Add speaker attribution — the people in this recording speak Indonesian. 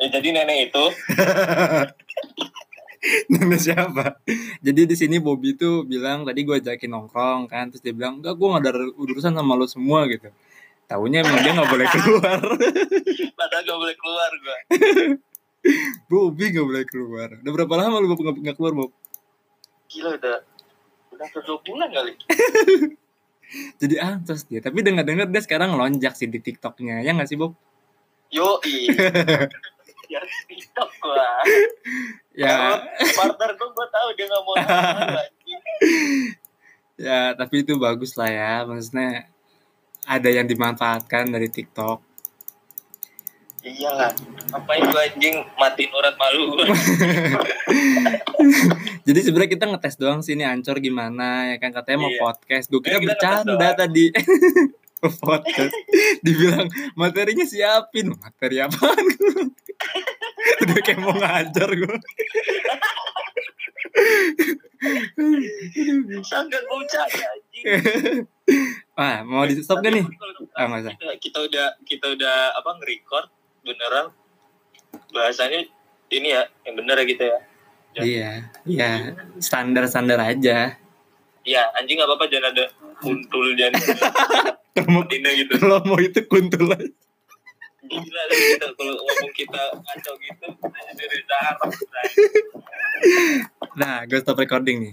Speaker 1: Ya, jadi nenek itu
Speaker 2: Nenek siapa? Jadi di sini Bobby tuh bilang tadi gue ajakin nongkrong kan, terus dia bilang enggak gue nggak ada urusan sama lo semua gitu. Tahunya emang dia nggak boleh keluar.
Speaker 1: padahal gak boleh keluar gue.
Speaker 2: Bobby nggak boleh keluar. Udah berapa lama lu Bob, nggak nggak keluar Bob?
Speaker 1: Gila udah udah hampir dua bulan kali.
Speaker 2: Jadi ansos dia. Tapi dengar-dengar dia sekarang lonjak sih di TikToknya ya nggak sih Bob?
Speaker 1: Yo i. Ya TikTok gua.
Speaker 2: Ya,
Speaker 1: Kalau Partner gua gua tahu dia nggak mau nonton, anjing.
Speaker 2: ya tapi itu bagus lah ya. Maksudnya ada yang dimanfaatkan dari TikTok.
Speaker 1: Iyalah. Ngapain gua anjing matiin urat malu. gua.
Speaker 2: Jadi sebenarnya kita ngetes doang sih ini ancor gimana ya kan katanya mau
Speaker 1: Iya.
Speaker 2: podcast. Gue kira
Speaker 1: Iya, kita ngetes
Speaker 2: bercanda
Speaker 1: doang.
Speaker 2: tadi. podcast. Dibilang materinya siapin. Materi apaan gua? Udah kayak mau ngajar gue.
Speaker 1: Sangat mau caya anjing.
Speaker 2: Wah, Ah, mau di stop gak
Speaker 1: Tapi
Speaker 2: nih?
Speaker 1: kalau kita-
Speaker 2: Ah, nggak usah.
Speaker 1: Kita, kita udah kita udah apa nge-record beneran bahasanya ini ya yang bener ya kita ya. Ya.
Speaker 2: Iya, iya. Standar-standar aja.
Speaker 1: Iya, anjing nggak apa-apa jangan ada kuntul jangan
Speaker 2: Kalau mau,
Speaker 1: dinda gitu.
Speaker 2: kalau mau itu kuntul aja.
Speaker 1: Gila lah kita kalau ngomong kita kacau gitu, hanya dari Zahar.
Speaker 2: Nah, gue stop recording nih.